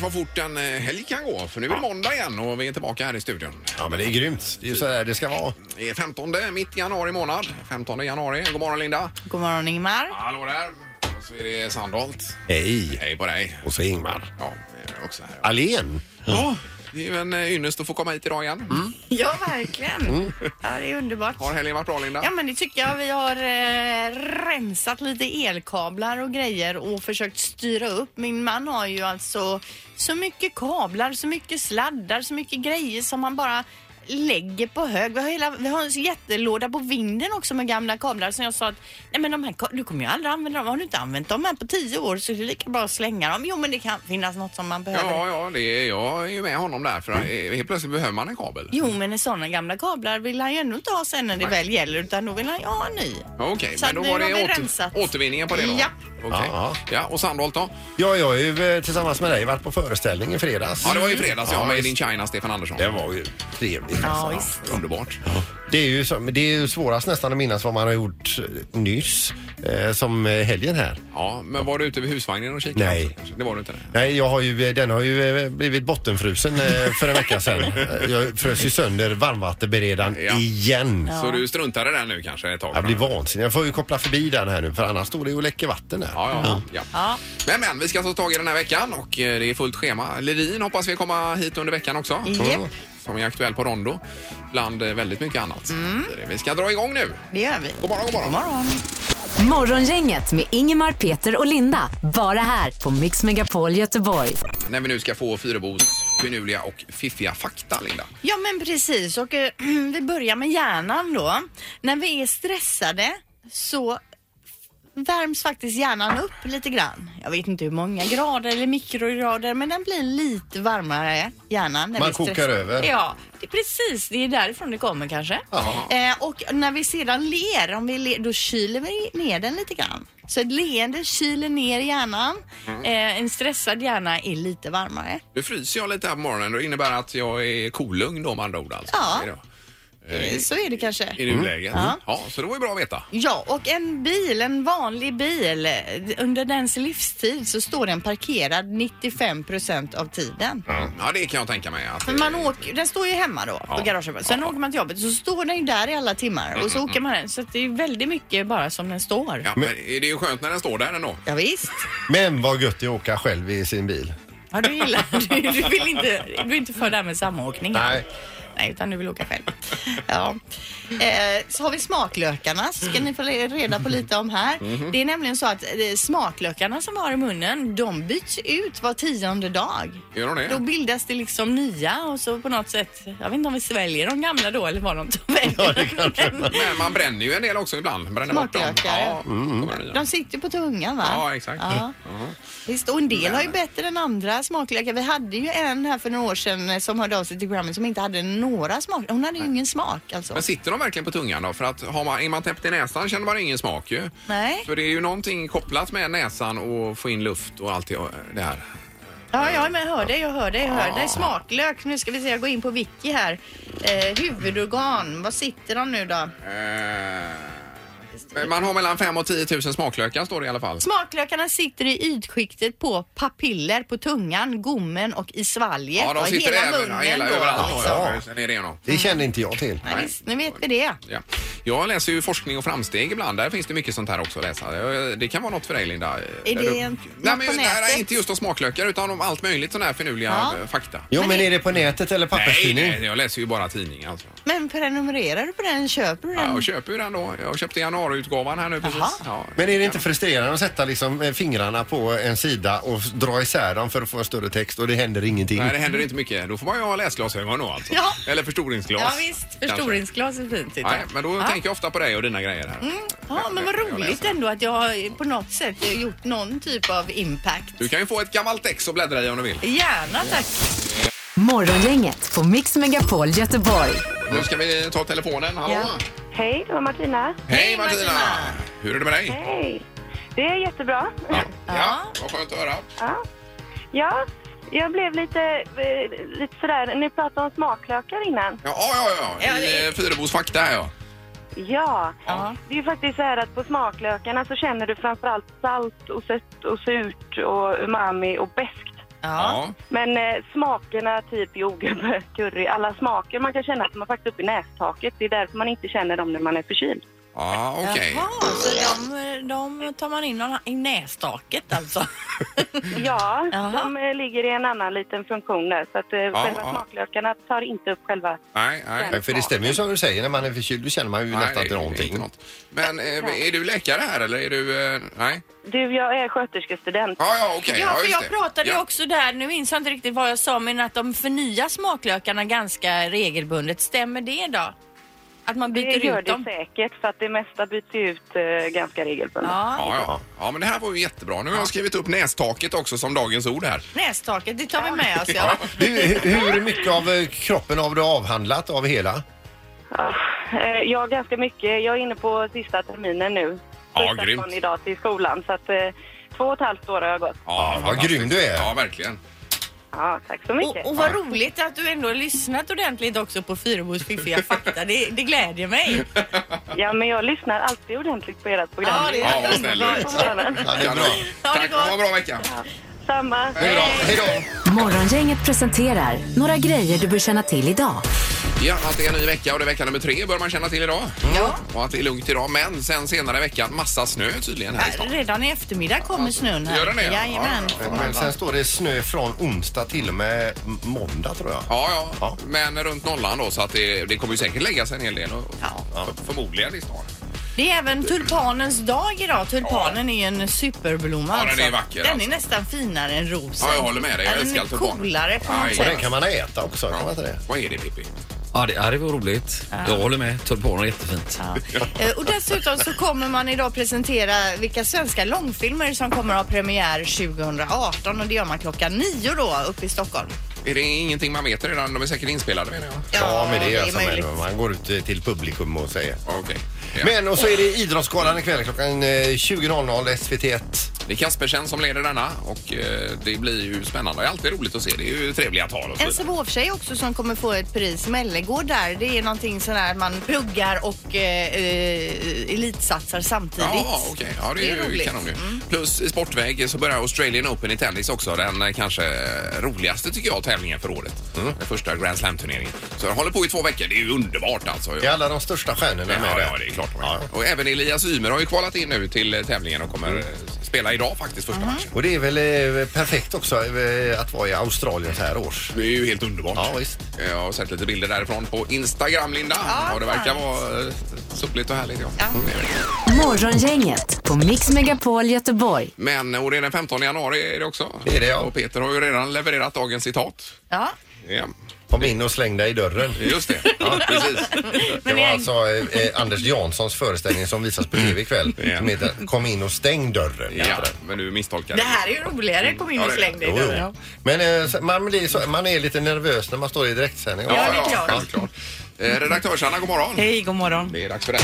vad fort en eh, helg kan gå. För nu är det måndag igen och vi är tillbaka här i studion. Ja, men det är grymt. Det är ju så här det ska vara. Det är 15, mitt i januari månad. 15 januari. God morgon Linda. God morgon Ingmar. Hallå där. Och så är det Sandholt. Hej! Hej på dig. Och så Ingmar. Ja, det är också här. Alén. Ja, det är ju en eh, ynnest att få komma hit idag igen. Ja, verkligen. Ja, Mm. det är underbart. Har helgen varit bra Linda? Ja, men det tycker jag. Vi har eh, rensat lite elkablar och grejer och försökt styra upp. Min man har ju alltså så mycket kablar, så mycket sladdar, så mycket grejer som han bara lägger på hög. Vi har, hela, vi har en jättelåda på vinden också med gamla kablar som jag sa att nej men de här ka- du kommer ju aldrig använda dem. Har du inte använt dem här på tio år så är det lika bra att slänga dem. Jo men det kan finnas något som man behöver. Ja, ja, det är, jag är ju med honom där för eh, helt plötsligt behöver man en kabel. Mm. Jo, men sådana gamla kablar vill han ju ändå inte ha sen när det väl gäller utan då vill han ju ha en ny. Ja, Okej, Så men då nu var har det vi åter, rensat. återvinningen på det då? Ja. Okej. Ja. Ja, och Sandholt då? Ja, jag har ju eh, tillsammans med dig varit på föreställning i fredags. Ja, det var ju fredags ja, Made visst. in China, Stefan Andersson. Det var ju trevligt. Ja, alltså. visst. Underbart. Det är, ju, så- men det är ju svårast nästan att minnas vad man har gjort eh, nyss, eh, som eh, helgen här. Ja, men var du ute vid husvagnen och kikade? Nej. också kanske? Det var du inte? Nej. Nej, jag har ju, eh, den har ju eh, blivit bottenfrusen eh, för en vecka sedan. Eh, Jag frös ju sönder varmvattenberedaren Ja. igen. Så du struntade där nu kanske ett tag? Jag blir vansinnig. Jag får ju koppla förbi den här nu för annars står det ju och läcker vatten där. Ja, ja, ja. Ja. Men, men, vi ska alltså ta tag i den här veckan och eh, det är fullt schema. Lerin hoppas vi komma hit under veckan också. Japp. Som är aktuell på Rondo. Bland eh, väldigt mycket annat. Mm. Vi ska dra igång nu. Det gör vi. God morgon, god morgon. God morgon. Morgongänget med Ingemar, Peter och Linda. Bara här på Mix Megapol Göteborg. När vi nu ska få Fyrebos finurliga och fiffiga fakta, Linda. Ja, men precis. Och eh, vi börjar med hjärnan då. När vi är stressade så värms faktiskt hjärnan upp lite grann. Jag vet inte hur många grader eller mikrograder men den blir lite varmare hjärnan. När Man vi är kokar stressade. över. Ja, det är precis. Det är därifrån det kommer kanske. Eh, och när vi sedan ler, om vi ler, då kyler vi ner den lite grann. Så ett leende kyler ner hjärnan. Mm. Eh, en stressad hjärna är lite varmare. Nu fryser jag lite här på morgonen. Det innebär att jag är kolugn då med andra ord. Alltså. Ja. Mm. Är det- Eh, Så är det kanske. I nuläget. Ja. Ja, så det var ju bra att veta. Ja, och en bil, en vanlig bil, under dens livstid så står den parkerad 95 procent av tiden. Ja, det kan jag tänka mig. Att Men man åker, den står ju hemma då Ja. på garaget. Sen Ja. Mm, åker man till jobbet så står den ju där i alla timmar och så åker man den. Så att det är väldigt mycket bara som den står. Ja, men det är ju skönt när den står där ändå. Ja, visst. Men vad gött det är att åka själv i sin bil. Ja, du gillar du, du vill inte, du är inte för det här med samåkning. Nej. Nej, utan du vill åka själv. Ja. Eh, så har vi smaklökarna, ska ni få le- reda på lite om här. Det är nämligen så att eh, smaklökarna som vi har i munnen, de byts ut var tionde dag. Gör de det? Då bildas det liksom nya och så på något sätt, jag vet inte om vi sväljer de gamla då eller var de tar vägen. Ja, det kanske man- Men man bränner ju en del också ibland. Bränner bort dem. Smaklökar, Ja, Mm. ja. de är nya. De sitter på tungan va? Ja, exakt. Ja. Visst, och en del har ju bättre än andra smaklökar. Vi hade ju en här för några år sedan eh, som hörde av sig till programmet som inte hade några smak. Hon hade ju ingen smak alltså. Men sitter de verkligen på tungan då? För att har man, är man täppt i näsan känner man ingen smak ju. Nej. För det är ju någonting kopplat med näsan och få in luft och allt det här. Ja, ja, men jag hör dig, jag hör dig, jag hör dig. Smaklök, nu ska vi se, jag går in på wiki här. Eh, huvudorgan, var sitter de nu då? Eh, Men man har mellan 5 och 10 000 smaklökar står det i alla fall. Smaklökarna sitter i ytskiktet på papiller på tungan, gommen och i svalget. Ja, de och sitter hela även munnen hela då, överallt. då, liksom. Ja, sen är det igenom. Det kände inte jag till. Ja, visst, nu vet vi det. Ja. Jag läser ju forskning och framsteg ibland. Där finns det mycket sånt här också att läsa. Eh, Det kan vara något för dig Linda. Är det en- Nej, något men, på nej, nätet? inte just om smaklökar utan om allt möjligt sådana här finurliga Ja. eh, fakta. Jo, men är det på nätet eller Nej, papperstidning? nej, jag läser ju bara tidningar alltså. Men prenumererar du på den? Köper du den? Ja, jag köper ju den då. Jag köpte januariutgåvan här nu precis. Ja. Men är det inte frustrerande att sätta liksom eh, fingrarna på en sida och dra isär dem för att få en större text och det händer ingenting? Nej, det händer inte mycket. Då får man ju ha läsglasögon då alltså. Ja. Eller förstoringsglas. Ja, visst, kanske. förstoringsglas är fint. tycker jag. Nej, men då ja. Mm. tänker jag ofta på dig och dina grejer här. Ja, men vad Jag roligt läser. ändå att jag har på något sätt gjort någon typ av impact. Du kan ju få ett gammalt ex att bläddra i om du vill. Gärna tack. Morgongänget på Mix Megapol Göteborg. Nu ska vi ta telefonen. Hallå? Ja. Hej, det var Martina. Hej Hej, Martina! Martina! Hur är det med dig? Hej. Det är jättebra. Ja, Ja. vad skönt att höra. Ja. ja, jag blev lite, eh, lite sådär, ni pratade om smaklökar innan. Ja, ja, ja. ja. Ja, I det- eh, Fyrebos fakta här, ja. Ja, Ja. det är ju faktiskt så här att på smaklökarna så känner du framförallt salt och sött och surt och umami och beskt. Ja. Men eh, smakerna, typ jordgubbe, curry, alla smaker man kan känna att man faktiskt upp i nästaket. Det är därför man inte känner dem när man är förkyld. Ja, okej. Jaha, så de, de tar man in någon, i nästaket alltså? Ja, Jaha. de eh, ligger i en annan liten funktion där. Så att eh, själva ja. smaklökarna tar inte upp själva... Nej, nej. Nej, För det stämmer ju som du säger, när man är förkyld då känner man ju nej, nästan det inte är någonting. inte något. Men eh, är du läkare här eller är du... Eh, nej? Du, jag är sköterskestudent. Ja, ja, okej. Ja, för just jag det. pratade ju Ja. också där, nu minns jag inte riktigt vad jag sa, men att de förnyar smaklökarna ganska regelbundet. Stämmer det då? Att man byter Det gör ut det dem? säkert, för att det mesta byts ju ut eh, ganska regelbundet. Ja, Ja, ja. ja, men det här var ju jättebra. Nu har jag skrivit upp nästaket också som dagens ord här. nästaket, det tar vi med oss. Ja. Du, hu- hur mycket av eh, kroppen har du avhandlat av hela? Ja. Eh, Jag har ganska mycket. Jag är inne på sista terminen nu. Ja, Första grymt. dagen idag till skolan. Så att, eh, två och ett halvt år har jag gått. Ja, vad fantastiskt. grym du är. Ja, verkligen. Ja, tack så mycket. Och, och vad roligt att du ändå har lyssnat ordentligt också på Fyrebos fiffiga fakta. Det, det glädjer mig. Ja, men jag lyssnar alltid ordentligt på ert program. Ja, det är Ja, vad snäll du är. Morgonen. Ja, det är bra. Ha det Tack, gott. ha en bra vecka. Samma. Hej då. Hej då! Morgongänget presenterar några grejer du bör känna till idag. Ja, att det är en ny vecka och det är vecka nummer tre bör man känna till idag. Ja. Och att det är lugnt idag, men sen senare i veckan massa snö tydligen här i stan. Redan i eftermiddag kommer snön här. Gör den det? Jajamän. Ja, Men sen står det snö från onsdag till och med m- måndag tror jag. Ja, ja, Ja. men runt nollan då så att det, det kommer ju säkert lägga sig en hel del. Och, Ja. för- Förmodligen i stan. Det är även tulpanens dag idag. Tulpanen är ju en superblomma. Ja, den alltså. är vacker, Den alltså. är nästan finare än rosen. Ja, jag håller med dig. Jag Ja, älskar Den är tulpanen. coolare på Aj. något Och Ja. den sätt. kan man äta också, kan man inte det? Vad är det Pippi? Ja, det, ja, det var roligt. Jag håller med. Tulpaner är jättefint. Eh, Och dessutom så kommer man idag presentera vilka svenska långfilmer som kommer att ha premiär 2018 och det gör man klockan nio då uppe i Stockholm. Är det ingenting man vet redan? De är säkert inspelade menar jag. Ja, men det det gör alltså, är som möjligt. man, man går ut eh, till publikum och säger. Ja, Okej. Ja. Men och så är det Idrottsgalan ikväll klockan eh, 20.00 SVT1. Det är Kaspersen som leder denna och eh, det blir ju spännande. Det är alltid roligt att se. Det är ju trevliga tal och så En vidare. Sävehof-tjej också som kommer få ett pris, Mellegård där. Det är någonting sån här att man pluggar och eh, eh, elitsatsar samtidigt. Ja, okej. Ja, det är, Det är ju roligt. kanon ju. Plus i sportväg så börjar Australian Open i tennis också. Den eh, kanske eh, roligaste tycker jag tävlingen för året. Den första Grand Slam-turneringen. Så den håller på i två veckor. Det är ju underbart alltså. Det är alla de största stjärnorna med Ja, där. ja, det är klart. Ja. Och även Elias Ymer har ju kvalat in nu till eh, tävlingen och kommer eh, spela idag faktiskt första matchen. Och det är väl eh, perfekt också eh, att vara i Australien så här års. Det är ju helt underbart. Eh, Ja, visst. Jag har sett lite bilder därifrån på Instagram, Linda. Ja, och det verkar sant. vara eh, soligt och härligt. Ja. Mm, Morgongänget på Mix Megapol Göteborg. Men eh, och det är den 15 januari är det också. Det är det, ja. Och Peter har ju redan levererat dagens citat. Ja. Ja, Kom in och släng dig i dörren. just det. Ja, precis. Det Men var jag- alltså eh, eh, Anders Janssons föreställning som visas på tv ikväll. Ja. Som heter Kom in och stäng dörren. heter Ja, den. men du misstolkar Det här är ju roligare, kom Mm. in Ja, och det- släng dig Jo, där. jo. Men eh, så- man, blir så, man är lite nervös när man står i direktsändning. Ja, det är klart. självklart. Eh, Redaktörs-Anna, god morgon. Hej, god morgon. Det är dags för det.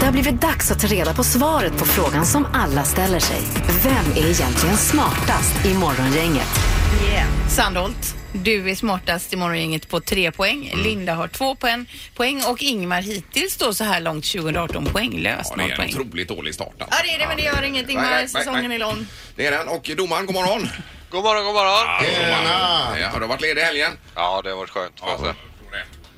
Det har blivit dags att ta reda på svaret på frågan som alla ställer sig. Vem är egentligen smartast i Morgongänget? Sandholt, du är smartast i morgongänget på tre poäng. Mm. Linda har två poäng, poäng och Ingmar hittills då så här långt 2018 poänglös. Ja, det Noll är en poäng. otroligt dålig start. alltså. Ja det är det men det gör inget Nej, nej, Ingmar, nej, säsongen nej. är lång. Det är den. Och domaren, god morgon. God morgon, god morgon! Tjena! Ja, du har varit ledig i helgen. Ja, det har varit skönt. får jag säga.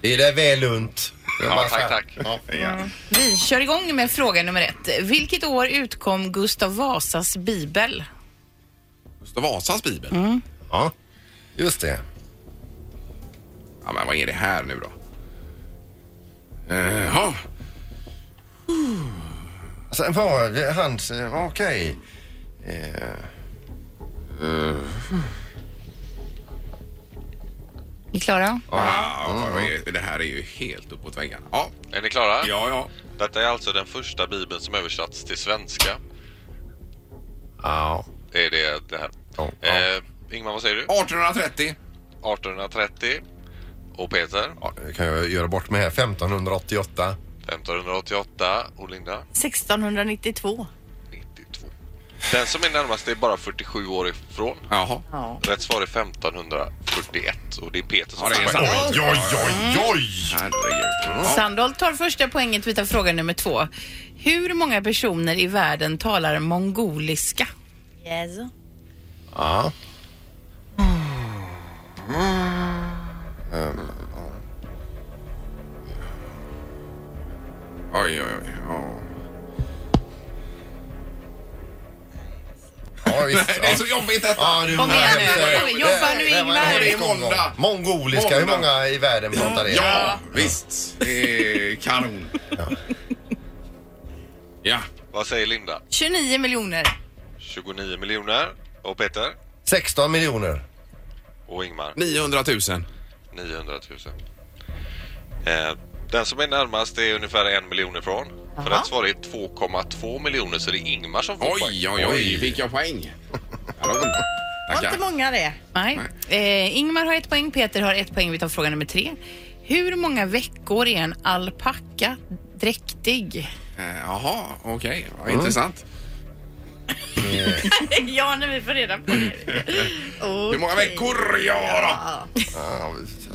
Det är det väl unt. Ja, tack, tack. Ja. Vi kör igång med fråga nummer ett. Vilket år utkom Gustav Vasas bibel? Gustav Vasas bibel. Mm. Ja, just det. Ja, men vad är det här nu då? Eh, Jaha. Sen var det hans... eh, Okej. Eh, Är ni klara? Ja, vad är det? det här är ju helt uppåt väggarna. Ja, Är ni klara? ja, ja. Detta är alltså den första bibeln som översatts till svenska. Ja. Det är det, det här. Ja, ja. Eh, Ingmar, vad säger du? 1830. 1830. Och Peter? Ja, det kan jag göra bort med här. 1588. 1588. Och Linda? 1692. 92. Den som är närmast är bara 47 år ifrån. Jaha. Rätt svar är 1541. Och det är Peter som Ja, det är får sant. poäng. Oj, oj, oj, oj! Herregud. Ja. Sandholt tar första poänget. Vi tar fråga nummer två. Hur många personer i världen talar mongoliska? Yes. Ja. Oj, oj, oj. ja. Ja, visst. Nej, Det är så jobbigt detta. Ja, du, Kom igen nu. Jobba nu, Det var en Ingmar. hård Det är utgång. måndag. Mongoliska, hur Måndag. många i världen pratar det? Ja, visst. Det är kanon. Ja. Vad säger Linda? 29 miljoner. 29 miljoner. Och Peter? 16 miljoner. Och Ingmar? 900 000. 900 000. Eh, den som är närmast är ungefär en miljon ifrån. För rätt svar är 2,2 miljoner så det är Ingmar som får poäng. Oj, oj, oj. Fick jag poäng? Kanon. Var inte Tackar. många det. Nej. Eh, Ingmar har ett poäng, Peter har ett poäng. Vi tar fråga nummer tre. Hur många veckor är en alpacka dräktig? Eh, Jaha, okej. Vad Mm. Intressant. ja, när vi får reda på det. Hur många Okej. veckor? Ja, då. Ja, visst.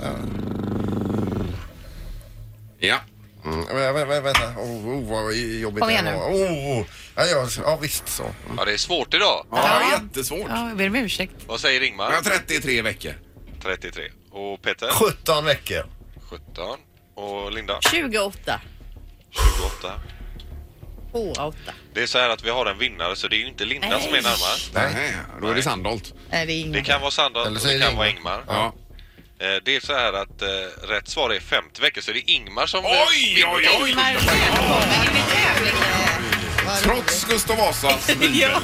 Ja. Mm, vä- vä- vä- Vänta, oh, oh, vad jobbigt Kom igen det nu. var. Oh, oh. Ja, ja, ja, visst så. Mm. Ja, det är svårt idag. Ja, det är jättesvårt. Ja, jag ber om ursäkt. Vad säger Ingmar? Jag har 33 veckor. 33. Och Peter? 17 veckor. 17. Och Linda? 28. 28. 28. Det är så här att vi har en vinnare så det är ju inte Linda som är närmast. Nej. Nej, då är det Sandholt. Nej, det är Det Ingmar. kan vara Sandra Eller och så det är det kan vara Ingmar. Ingmar. Ja. Eh, Det är så här att eh, rätt svar är 50 veckor så det är Ingmar som... Oj, oj, oj! Ingmar välkommen. Är det tävling? Trots Gustav Vasas bibel. ja.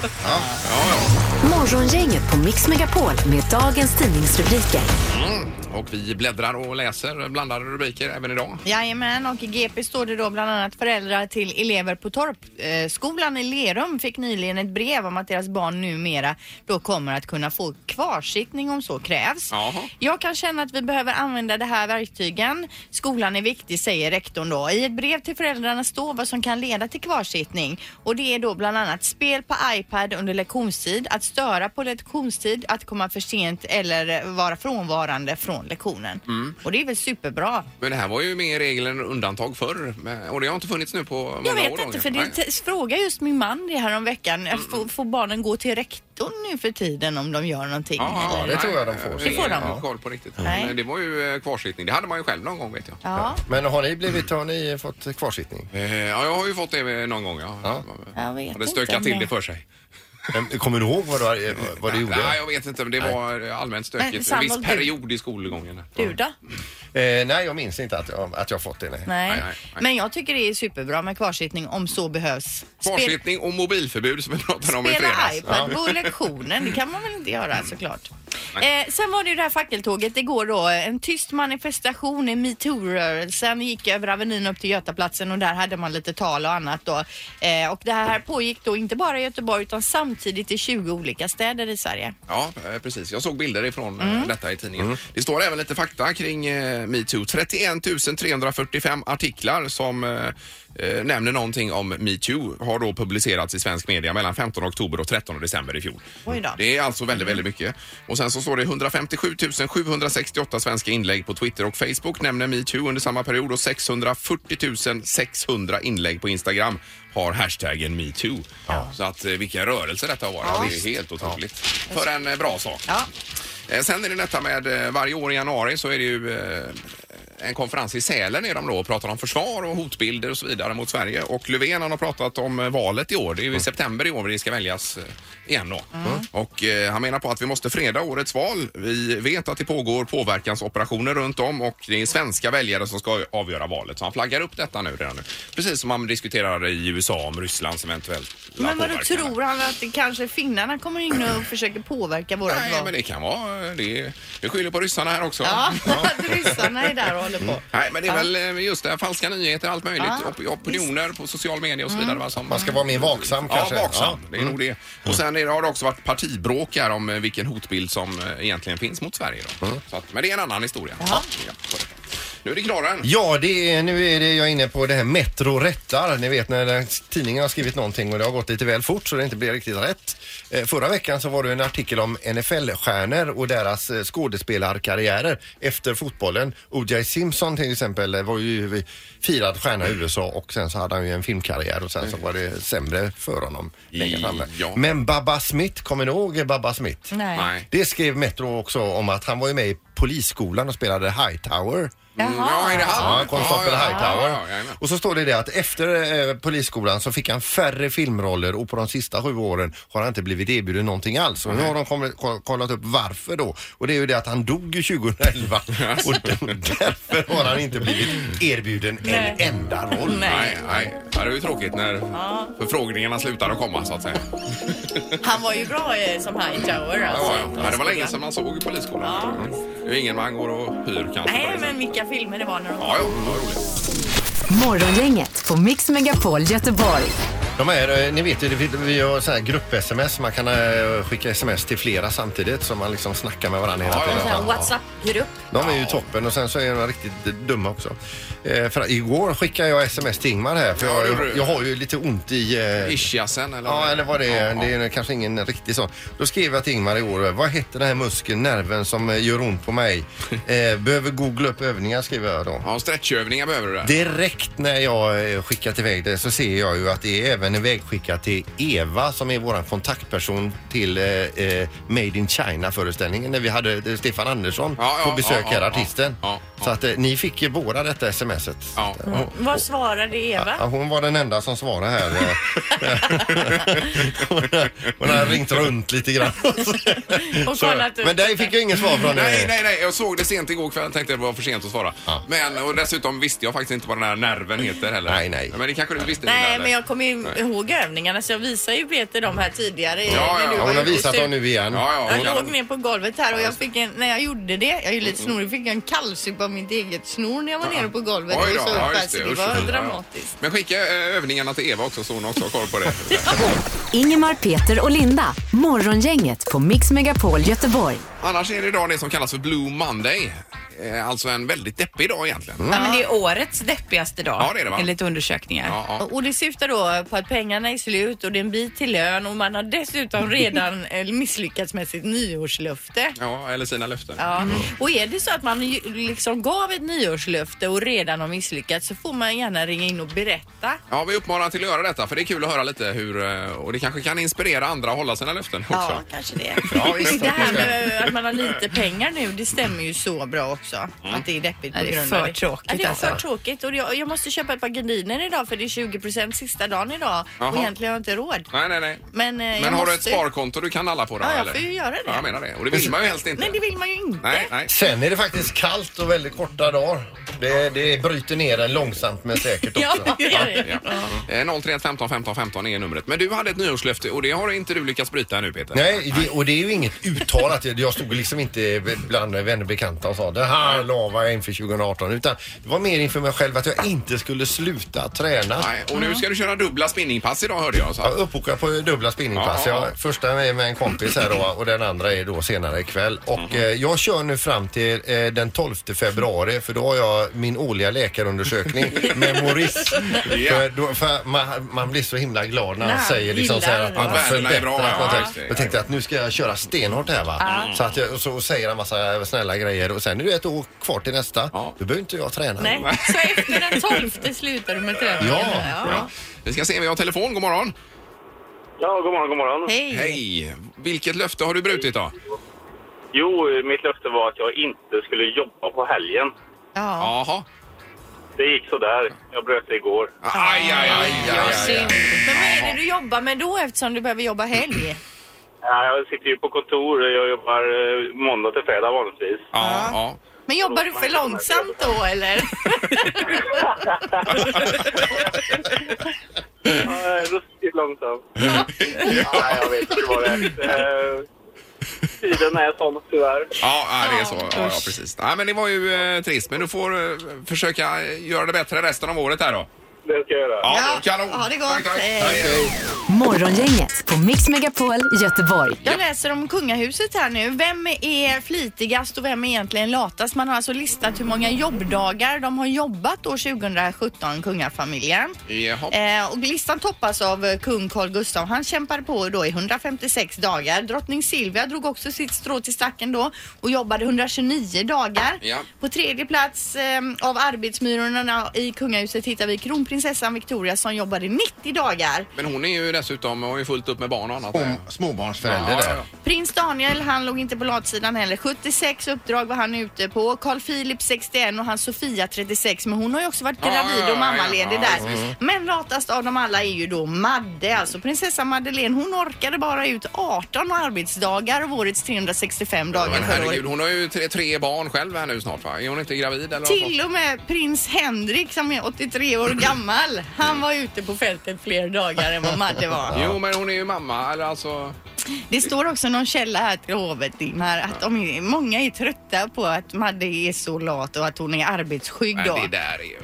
Morgongänget på Mix Megapol med dagens tidningsrubriker. ja. Och vi bläddrar och läser blandade rubriker även idag. Jajamän, och i GP står det då bland annat föräldrar till elever på Torpskolan eh, skolan i Lerum fick nyligen ett brev om att deras barn numera då kommer att kunna få kvarsittning om så krävs. Jaha. Jag kan känna att vi behöver använda det här verktygen. Skolan är viktig, säger rektorn då. I ett brev till föräldrarna står vad som kan leda till kvarsittning och det är då bland annat spel på iPad under lektionstid, att störa på lektionstid, att komma för sent eller vara frånvarande från lektionen. Och det är väl superbra. Men det här var ju mer regel än undantag förr. Men- Och det har inte funnits nu på många år. Jag vet då, Mm. inte, ju. för det Nej. t- frågar just min man det här om veckan. Får, får barnen gå till rektorn nu för tiden om de gör någonting? Ja, det tror jag de får. Det får de. Ja. koll på riktigt. Nej. Men Det var ju eh, kvarsittning. Det hade man ju själv någon gång vet jag. Ja, Men har ni blivit, har ni fått kvarsittning? Eh, Ja, jag har ju fått det eh, någon gång. Ja. Ja. jag vet Det inte stökade om till det för sig. Men Kommer du ihåg vad du, vad du gjorde? Nej, jag vet inte, men det var eh, allmänt Men stökigt. En Sandholt, viss du- period i skolgången. Du då? Eh, nej, jag minns inte att jag, att jag fått det. Nej. Nej. Nej, nej, nej. Men jag tycker det är superbra med kvarsittning om så behövs. Spel- Kvarsittning och mobilförbud som vi pratade om i Spela fredags. Mm. iPad på lektionen, det kan man väl inte göra såklart. Eh, sen var det ju det här fackeltåget igår då. En tyst manifestation i metoo-rörelsen gick över Avenyn upp till Götaplatsen och där hade man lite tal och annat då. Eh, och det här pågick då inte bara i Göteborg utan samtidigt i 20 olika städer i Sverige. Ja, eh, precis. Jag såg bilder ifrån Mm. eh, detta i tidningen. Mm. Det står även lite fakta kring eh, metoo. 31 345 artiklar som eh, eh, nämner någonting om metoo har då publicerats i svensk media mellan 15 oktober och 13 december i fjol. Oj då. Det är alltså väldigt, väldigt mycket. Och sen så står det 157 768 svenska inlägg på Twitter och Facebook nämner metoo under samma period och 640 600 inlägg på Instagram har hashtaggen metoo. Så att eh, vilken rörelse detta har varit. Det är helt otroligt. För en eh, bra sak. Ja. Eh, Sen är det detta med eh, varje år i januari så är det ju eh, en konferens i Sälen är de då och pratar om försvar och hotbilder och så vidare mot Sverige. Och Löfven han har pratat om eh, valet i år. Det är ju i september i år det ska väljas eh, igen då. Och eh, han menar på att vi måste freda årets val. Vi vet att det pågår påverkansoperationer runt om och det är svenska väljare som ska avgöra valet. Så han flaggar upp detta nu redan nu. Precis som man diskuterar i USA om Rysslands eventuellt Men vad du tror han att det kanske finnarna kommer in och försöker påverka våra Nej, men det kan vara... eh, Det, det skyller på ryssarna här också. Ja, att ryssarna är där och håller på. Nej, men det är väl eh, just det här, falska nyheter, allt möjligt, op- opinioner på social media och så vidare. va, Som, Man ska vara mer vaksam Ja, kanske. Mm. vaksam. Det är nog det. Och sen är det, har det också varit partibråk här om eh, vilken hotbild som eh, egentligen finns mot Sverige. Då. Mm. Så att, men det är en annan historia. Ja. så är det. Nu är det knorren. Ja, det är, nu är det, jag är inne på det här Metro rättar. Ni vet när den- tidningen har skrivit någonting och det har gått lite väl fort så det inte blir riktigt rätt. Eh, förra veckan så var det en artikel om NFL-stjärnor och deras eh, skådespelarkarriärer efter fotbollen. O.J. Simpson Simpson till exempel eh, var ju firad stjärna i USA och sen så hade han ju en filmkarriär och sen så var det sämre för honom längre framme. Mm. Ja. Men Baba Smith, kommer ni ihåg Baba Smith? Nej. Nej. Det skrev Metro också om att han var ju med i Polisskolan och spelade Hightower. Mm, Ja, är det han? Ja, konstapel Hightower. Ja, ja, ja, och så står det det att efter eh, polisskolan så fick han färre filmroller och på de sista sju åren har han inte blivit erbjuden någonting alls. Och nu har de kommit, ko- kollat upp varför då. Och det är ju det att han dog ju 2011 och d- därför har han inte blivit erbjuden en enda roll. Nej, nej. Ja, det är ju tråkigt när förfrågningarna slutar att komma så att säga. Han var ju bra eh, som Hightower Ja, alltså. ja, ja. Ja, det var länge sedan man såg i Polisskolan. Mm. Det är ju ingen man går och hyr kanske. på Nej, det men vilka filmer det var när de Ja, ja, det var roligt. Morgongänget på Mix Megapol Göteborg. De här, eh, ni vet ju, det fin- vi har sådana här grupp-sms. Man kan eh, skicka sms till flera samtidigt så man liksom snackar med varandra hela Ja, ja, tiden. ja. Ja. En WhatsApp-grupp. De är ju toppen och sen så är de riktigt dumma också. Eh, för att igår skickade jag sms till Ingmar här för Ja, det jag, gjorde du. jag har ju lite ont i... Eh, Ischiasen eller? ja, eller vad det är. Ja, Det är kanske ingen riktig sån. Då skrev jag till Ingmar igår. Vad heter den här muskeln, nerven som eh, gör ont på mig? Eh, behöver googla upp övningar skriver jag då. ja. ja stretchövningar behöver du där. Direkt när jag eh, skickat iväg det så ser jag ju att det är även en vägskickat till Eva som är vår kontaktperson till eh, eh, Made in China-föreställningen när vi hade eh, Stefan Andersson Ja, ja, på besök ja, här, ja, artisten. ja, ja. Så att eh, ni fick ju båda detta smset. Ja. Hon, Vad svarade Eva? ja, hon var den enda som svarade här. eh. hon, har- hon har ringt runt lite grann. Och Så, kollat upp men där fick jag inget svar från dig. Nej, nej, nej. Jag såg det sent igår kväll och tänkte att det var för sent att svara. Ja. Men och dessutom visste jag faktiskt inte vad den här nerven heter heller. Nej, nej. Men det kanske du visste? Linda, Nej, eller? men jag kommer ju ihåg övningarna så jag visade ju Peter de här tidigare. i- Ja, ja, när ja, du Ja, var hon har ute. visat dem nu igen. Ja, ja. Jag låg ner på golvet här och jag fick en, när jag gjorde det, jag är ju Mm. lite snorig, fick jag en kallsup av mitt eget snor när jag var nere på golvet. Oj och då, så upp ja, här, just så det. det Usch, var ja, ja. dramatiskt. Men skicka eh, övningarna till Eva också så hon också har koll på det. Ingemar, Peter och Linda. Morgongänget på Mix Megapol Göteborg. Annars är det idag det som kallas för Blue Monday. Eh, Alltså en väldigt deppig dag egentligen. Mm. Ja, men det är årets deppigaste dag, Ja, det är det, va? enligt undersökningar. Ja, ja. Och det syftar då på att pengarna är slut och det är en bit till lön och man har dessutom redan eh, misslyckats med sitt nyårslöfte. ja, eller sina löften. Ja. Mm. Och är det så att man ju liksom gav ett nyårslöfte och redan har misslyckats så får man gärna ringa in och berätta. Ja, vi uppmanar till att göra detta för det är kul att höra lite hur eh, och det kanske kan inspirera andra att hålla sina löften också. Ja, kanske det. Ja, det här med att man har lite pengar nu, det stämmer ju så bra också. Mm. Att det är deppigt på Ja, det är grund för av det. tråkigt ja, det är alltså. för tråkigt. Och jag, jag måste köpa ett par gardiner idag för det är 20 sista dagen idag. Jaha. Och egentligen har jag inte råd. Nej, nej, nej. Men, eh, jag Men har du ett måste- sparkonto du kan alla på då? Ja, jag eller? får ju göra det. Mm. Ja, jag menar det. Och det vill man ju helst inte. Nej, det vill man ju inte. nej, nej. Sen är det faktiskt kallt och väldigt korta dagar. Det, det bryter ner en långsamt men säkert också. Ja, det gör det. Ja. Eh, 031 15 15 15 är numret. Men du hade ett nyårslöfte och det har inte du lyckats bryta nu Peter. Nej, det, och det är ju inget uttalat. Jag stod liksom inte bland vänner och bekanta och sa det här lovar jag inför 2018. Utan det var mer inför mig själv att jag inte skulle sluta träna. Nej, och Mm. nu ska du köra dubbla spinningpass idag hörde jag. Så. Jag är uppbokad på dubbla spinningpass. Ja, ja, ja. Jag, första är med en kompis här då, och den andra är då senare ikväll. Och Mhm. eh, jag kör nu fram till eh, den 12 februari för då har jag min årliga läkarundersökning med Maurice. Ja. För då, för man, man blir så himla glad när han Nej, säger liksom gillar så här att man det. har Att värdena är bra, ja, förbättrat någonting. just det. Jag tänkte att nu ska jag köra stenhårt här va. Så att jag, och så säger han massa snälla grejer och sen är det ett år kvar till nästa. Ja. Då behöver inte jag träna. Nej. Så efter den 12 slutar du med träningen? Ja. Ja. Vi ska se om vi har telefon. God morgon. Ja, god morgon, god morgon. Hej. Hej! Vilket löfte har du brutit då? Jo, mitt löfte var att jag inte skulle jobba på helgen. Ja. Jaha. Det gick så där. Jag bröt det igår. Aj, aj, aj, aj, aj, aj. Synd. Men vad är det du jobbar med då eftersom du behöver jobba helg? Ja, Jag sitter ju på kontor. Jag jobbar eh, måndag till fredag vanligtvis. Ja, ja. Men jobbar du för långsamt då eller? Ja, jag är Ruskigt långsamt. Nej, jag vet inte vad det är. Eh, Tiden är sån tyvärr. Ja, ja, det är så. Ja, ja, eh, precis. Nej, men det var ju eh, trist, men du får eh, försöka göra det bättre resten av året här då. Det Det ska jag göra. Ja, kanon. Ha det gott. Hej. Morgongänget på Mix Megapol Göteborg. Jag läser om kungahuset här nu. Vem är flitigast och vem är egentligen latast? Man har alltså listat hur många jobbdagar de har jobbat år 2017, kungafamiljen. Jaha. Eh, och listan toppas av eh, kung Carl Gustaf. Han kämpade på då i 156 dagar. Drottning Silvia drog också sitt strå till stacken då och jobbade 129 dagar. Ja. På tredje plats eh, av arbetsmyrorna i kungahuset hittar vi kronprinsessan Victoria som jobbade 90 dagar. Men hon är ju dessutom, har ju fullt upp med barn och annat. småbarnsförälder där. Prins Daniel, han låg inte på latsidan heller. 76 uppdrag var han ute på. Carl Philip 61 och han Sofia 36. Men hon har ju också varit Ja, ja, gravid ja, och mammaledig ja, där. visst. Men latast av dem alla är ju då Madde. Alltså prinsessa Madeleine, hon orkade bara ut 18 arbetsdagar av årets 365 dagar Men förra herregud, året. hon har ju tre, tre barn själv här nu snart va? Är hon inte gravid eller Till och med prins Henrik som är 83 år gammal, han var ute på fältet fler dagar än vad Madde var. Jo, men hon är ju mamma. Eller alltså... Det står också någon källa här till hovet Ingmar att de är, många är trötta på att Madde är så lat och att hon är arbetsskygg Nej, då. det där är ju...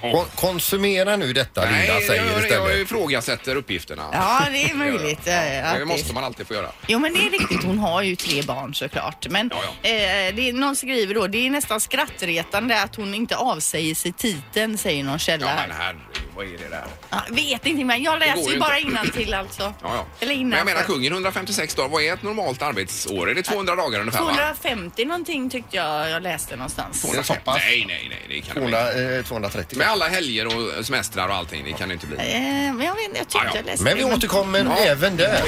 Kon- Konsumera nu detta Nej, Linda jag, säger jag, jag istället. ifrågasätter uppgifterna. Ja, det är möjligt. eh, att Det måste man alltid få göra. Jo men det är riktigt, hon har ju tre barn såklart. Men Eh, det är, någon skriver då, det är nästan skrattretande att hon inte avsäger sig titeln säger någon källa. Ja, här. men herregud, vad är det där? Ja, vet inte men jag läser går ju ju bara inte. innantill alltså. Ja, ja. Eller Men jag innanför. menar kungen 156 dagar, vad är ett normalt arbetsår? Är det 200 dagar ungefär? va? 250 någonting tyckte jag jag läste någonstans. Det är så pass. Nej, nej, nej, det kan det inte. 200, eh, 230. Med alla helger och semestrar och allting, det kan det inte bli. Eh, men jag, vet, inte, jag tyckte Ja, ja. jag läste Men det, Mm. vi återkommer även där.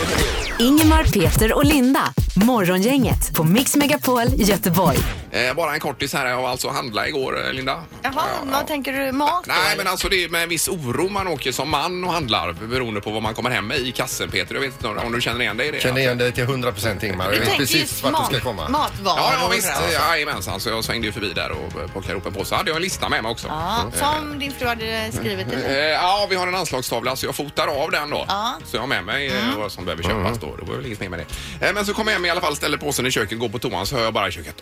Ingemar, Peter och Linda. Morgongänget på Mix Megapol Göteborg. Eh, bara en kortis här, jag var alltså och handla igår, eh, Linda. Jaha, vad tänker du? Mat då, Nej, eller? men alltså det är med en viss oro man åker som man och handlar beroende på vad man kommer hem med i kassen, Peter. Jag vet inte om du känner igen dig i det? Känner igen dig till 100% Ingmar. Jag Du vet tänker precis just vart du mat, ska komma. matvaror. Ja, ja och visst. sådär. Jajamensan, så jag svängde ju förbi där och eh, plockade ihop en påse. Hade jag en lista med mig också. Ja, Mm. som din fru hade skrivit Eh, eller? Ja, vi har en anslagstavla så jag fotar av den då. Ja. Så jag har med mig eh, vad som behöver köpas då. Det var väl inget mer med det. Eh, Men så kommer jag hem i alla fall, ställer påsen i köket, går på toan så hör jag bara i köket.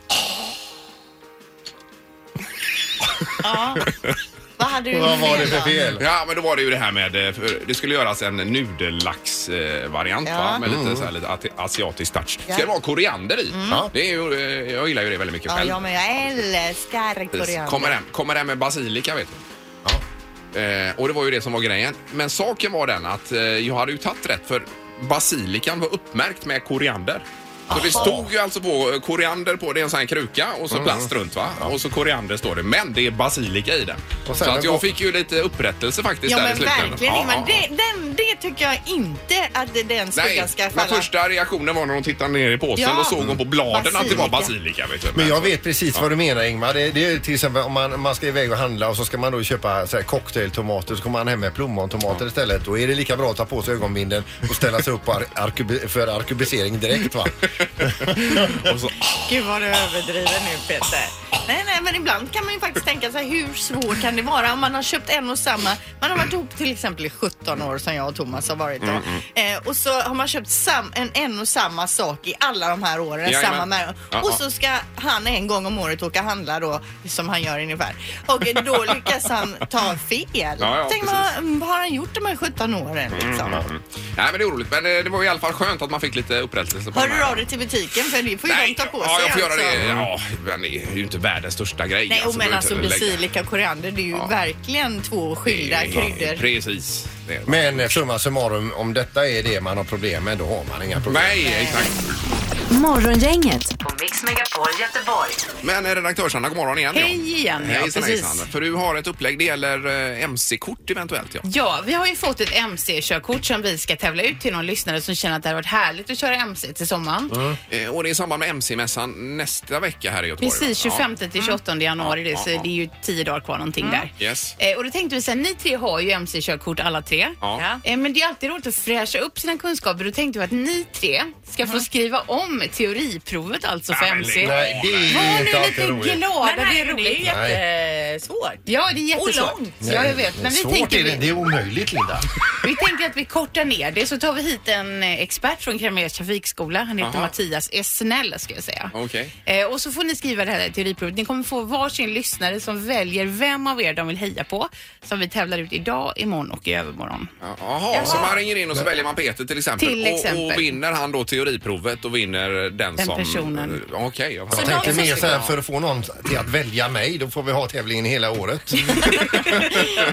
Ja. Vad hade du Vad var med det för då? fel? Ja, men då var det ju det här med... eh, för Det skulle göras en nudellax-variant Ja. va? Med lite, så här, lite ati- asiatisk touch. Ska Ja. Mm. det vara koriander i? Ja. Det är ju, eh, jag gillar ju det väldigt mycket Ja, själv. ja, men jag älskar koriander. Kommer den, kommer den med basilika vet du. Eh, och det var ju det som var grejen. Men saken var den att eh, jag hade ju tagit rätt för basilikan var uppmärkt med koriander. Så det stod ju alltså på eh, koriander på, det är en sån här kruka och Mm. så plast runt va? Och så koriander står det, men det är basilika i den. Och sen Så att den jag går- fick ju lite upprättelse faktiskt Ja där men i slutändan. verkligen Ja, Ingmar. ja, ja. Det, den, det tycker jag inte att den Nej, skuggan ska men falla. första reaktionen var när hon tittade ner i påsen Ja. och såg hon på bladen att det var basilika. Basilika. Vet du. Men jag vet precis vad du menar Ingmar. Det, det är till exempel om man, man ska iväg och handla och så ska man då köpa så här, cocktailtomater så kommer man hem med plommontomater istället. Då är det lika bra att ta på sig ögonbindeln och ställa sig upp på ar- arkubi- för arkebusering direkt va. Och så, Gud vad du överdriver nu Peter. Nej, nej, men ibland kan man ju faktiskt tänka sig hur svårt kan det vara om man har köpt en och samma. Man har varit ihop till exempel i 17 år som jag och Thomas har varit då. Mm, Eh, och så har man köpt sam, en, en och samma sak i alla de här åren. Jajamän. samma märke. Ja, Och ja. så ska han en gång om året åka handla då som han gör ungefär. Och då lyckas han ta fel. ja, Tänk precis. Mm, vad mm, har han gjort de här 17 åren liksom? Nej men det är oroligt men eh, det var i alla fall skönt att man fick lite upprättelse på Hör den du här. av dig till butiken för det får ju de Nej, ta på sig ja, jag får göra alltså. det. Ja, men det är ju inte världens största grej. Nej, och men behöver alltså inte lägga- basilika och koriander, det är ju verkligen två skilda Det är- kryddor. Precis. Det är det. Men eh, summa summarum, om detta är det man har problem med, då har man inga problem. Nej, exakt. Morgongänget på Mix Megapol Göteborg. Men eh, redaktörsarna, god morgon igen. Hej igen! Ja. Hejsan, hejsan. För du har ett upplägg, det gäller eh, MC-kort eventuellt ja. Ja, vi har ju fått ett MC-körkort som vi ska tävla ut till någon lyssnare som känner att det har varit härligt att köra MC till sommaren. Eh, Och det är i samband med MC-mässan nästa vecka här i Göteborg. va? Precis, 25 till Mm. 28 januari det, så Ja, ja. det är ju 10 dagar kvar någonting där. Yes. Eh, och då tänkte vi sen, ni tre har ju MC-körkort alla tre. Ja. Eh, men det är alltid Mm. roligt att fräscha upp sina kunskaper. Då tänkte vi att ni tre ska få skriva om teoriprovet alltså allt inte så femsigt. Nej, det är Var inte nu alltid lite roligt. glada, Men det är nej, roligt. det är jättesvårt. Ja, det är jättesvårt. Och långt. Ja, jag vet. Men vi Svårt tänker, är det, vi, det är omöjligt Linda. vi tänker att vi kortar ner det så tar vi hit en eh, expert från Cramérs trafikskola. Han heter Aha. Mattias S. Snäll ska jag säga. Okej. Eh, och så får ni skriva det här teoriprovet. Ni kommer få varsin lyssnare som väljer vem av er de vill heja på. Som vi tävlar ut idag, imorgon och i övermorgon. Jaha, så man ringer in och så väljer man Peter till exempel. Till Och, exempel. och vinner han då teoriprovet och vinner den, Den som... personen. Okej, jag Jag fattar. tänker mer så här för att få någon till att välja mig, då får vi ha tävlingen hela året.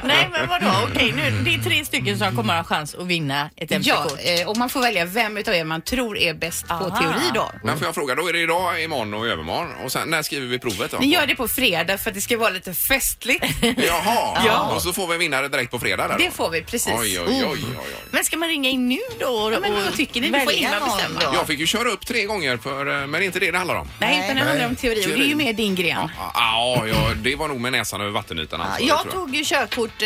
Nej men vadå, okej nu det är tre stycken som kommer ha chans att vinna ett Ja, MC-kort. eh, och man får välja vem utav er man tror är bäst på Aha. teori då. Men får jag fråga, då är det idag, imorgon och övermorgon och sen när skriver vi provet då? Ni gör det på fredag för att det ska vara lite festligt. Jaha, Ja. och så får vi en vinnare direkt på fredag där då? Det får vi precis. Oj, oj, oj, oj, oj. Men ska man ringa in nu då? Och, Mm. Ja, men vad tycker ni? Du får välja Ingmar någon bestämma. då? Jag fick ju köra upp tre gånger, för, eh, men det är inte det det handlar om. Nej, utan det handlar om teori och det är ju Teori. mer din gren. Ja, ah, ja, det var nog med näsan över vattenytan. Ja, Alltså, det Jag tror tog ju körkort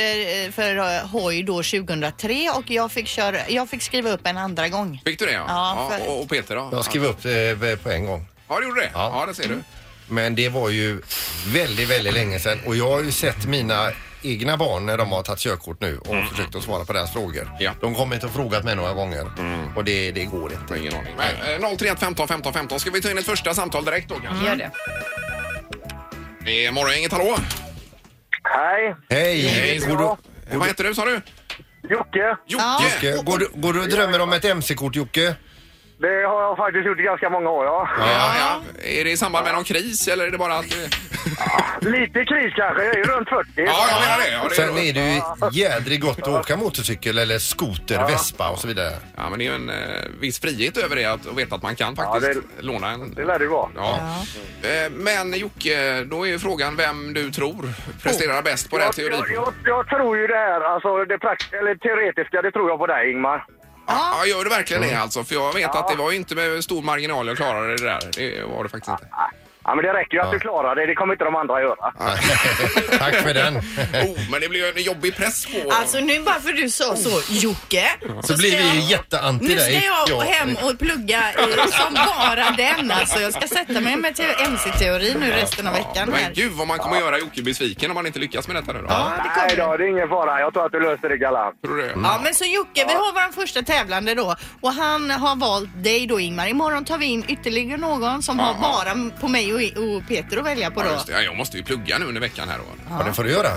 eh, för eh, hoj då 2003 och jag fick, köra, jag fick skriva upp en andra gång. Fick du det? Ja. Ja, för- och, och Peter då? Jag skrev upp eh, på en gång. Ja, du gjorde det? Ja, Ja. det ser du. Men det var ju väldigt, väldigt länge sedan och jag har ju sett mina egna barn när de har tagit körkort nu och försökt att svara på deras frågor. Mm. Ja. Mm. De kommer inte och frågat mig några gånger och det, det går inte. Ingen aning. Men, eh, 031 15 15 15. Ska vi ta in ett första samtal direkt då kanske? Gör det. Det är Morgongänget, hallå! Hej! Hej! Går du, Eh, Vad heter du sa du? Jocke! Jocke! Jocke, går, du, går du och drömmer om ett MC-kort Jocke? Det har jag faktiskt gjort i ganska många år, ja. Ja, ja. Är det i samband med någon kris eller är det bara att... eh, Ja, Lite kris kanske, jag är ju runt 40. jag menar det. Ja, det Sen är det ju jädrigt gott att åka motorcykel eller skoter, vespa och så vidare. ja, men det är ju en eh, viss frihet över det att och veta att man kan faktiskt låna en. Det lär det vara. Ja. Eh, Men Jocke, då är ju frågan vem du tror presterar bäst på det här Oh. jag, jag, teoriprovet. jag, jag tror ju det här, alltså det prakt- eller teoretiska, det tror jag på dig Ingmar. Ja, gör du verkligen det alltså? För jag vet att det var ju inte med stor marginal jag klarade det där. Det var det faktiskt inte. Ja men det räcker ju att du klarar det, det kommer inte de andra göra. Tack för den. Oh, men det blir ju en jobbig press på... Alltså nu bara för du sa så, Jocke. Så blir ska vi ju jag- jätteanti Nu ska dig. jag Ja. hem och plugga eh, som bara den alltså. Jag ska sätta mig med te- MC-teori nu resten av veckan Men här. gud vad man kommer göra Jocke besviken om man inte lyckas med detta nu då. Ja, det Nej kommer. då, det är ingen fara. Jag tror att du löser det galant. Tror du det? Ja men så Jocke, vi har vår första tävlande då och han har valt dig då Ingmar. Imorgon tar vi in ytterligare någon som har bara på mig och, och Peter att välja på Ja, då. just det. Ja, jag måste ju plugga nu under veckan här då. Ja, det får du göra.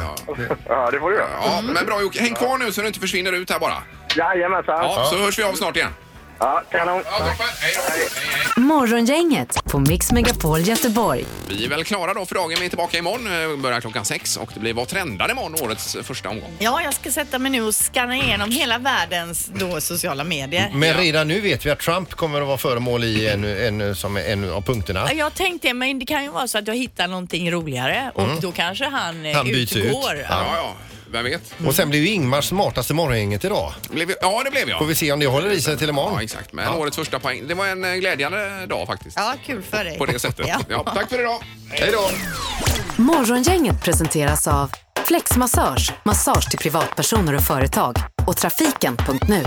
Ja, det får du göra. Ja, men bra Jocke. Häng kvar nu så du inte försvinner ut här bara. Jajamensan. Ja, Ja. så hörs vi av snart igen. Ja, kanon. Ja, toppen. Hej då. Hej, hej. Morgongänget på Mix Megapol Göteborg. Vi är väl klara då för dagen. Vi är tillbaka imorgon. eh, Börjar klockan sex och det blir Vad trendar imorgon, årets första omgång. Ja, jag ska sätta mig nu och scanna igenom hela världens då sociala medier. Men redan nu vet vi att Trump kommer att vara föremål i en, en, som en av punkterna. Ja, Jag tänkte, men det kan ju vara så att jag hittar någonting roligare och då kanske han, eh, Han byts ut. utgår. Ja. Ja, ja. Vem vet? Och sen blev ju Ingmar smartaste morgongänget idag. Blev vi- Ja, det blev Får jag. vi se om det håller i sig till Ja, imorgon. exakt. Men årets första poäng. Det var en eh, glädjande dag faktiskt. Ja, kul för dig. På det sättet. Ja. Ja, tack för idag. Hej då! Morgongänget presenteras av Flexmassage, massage till privatpersoner och företag och trafiken.nu.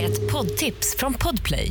Ett poddtips från Podplay.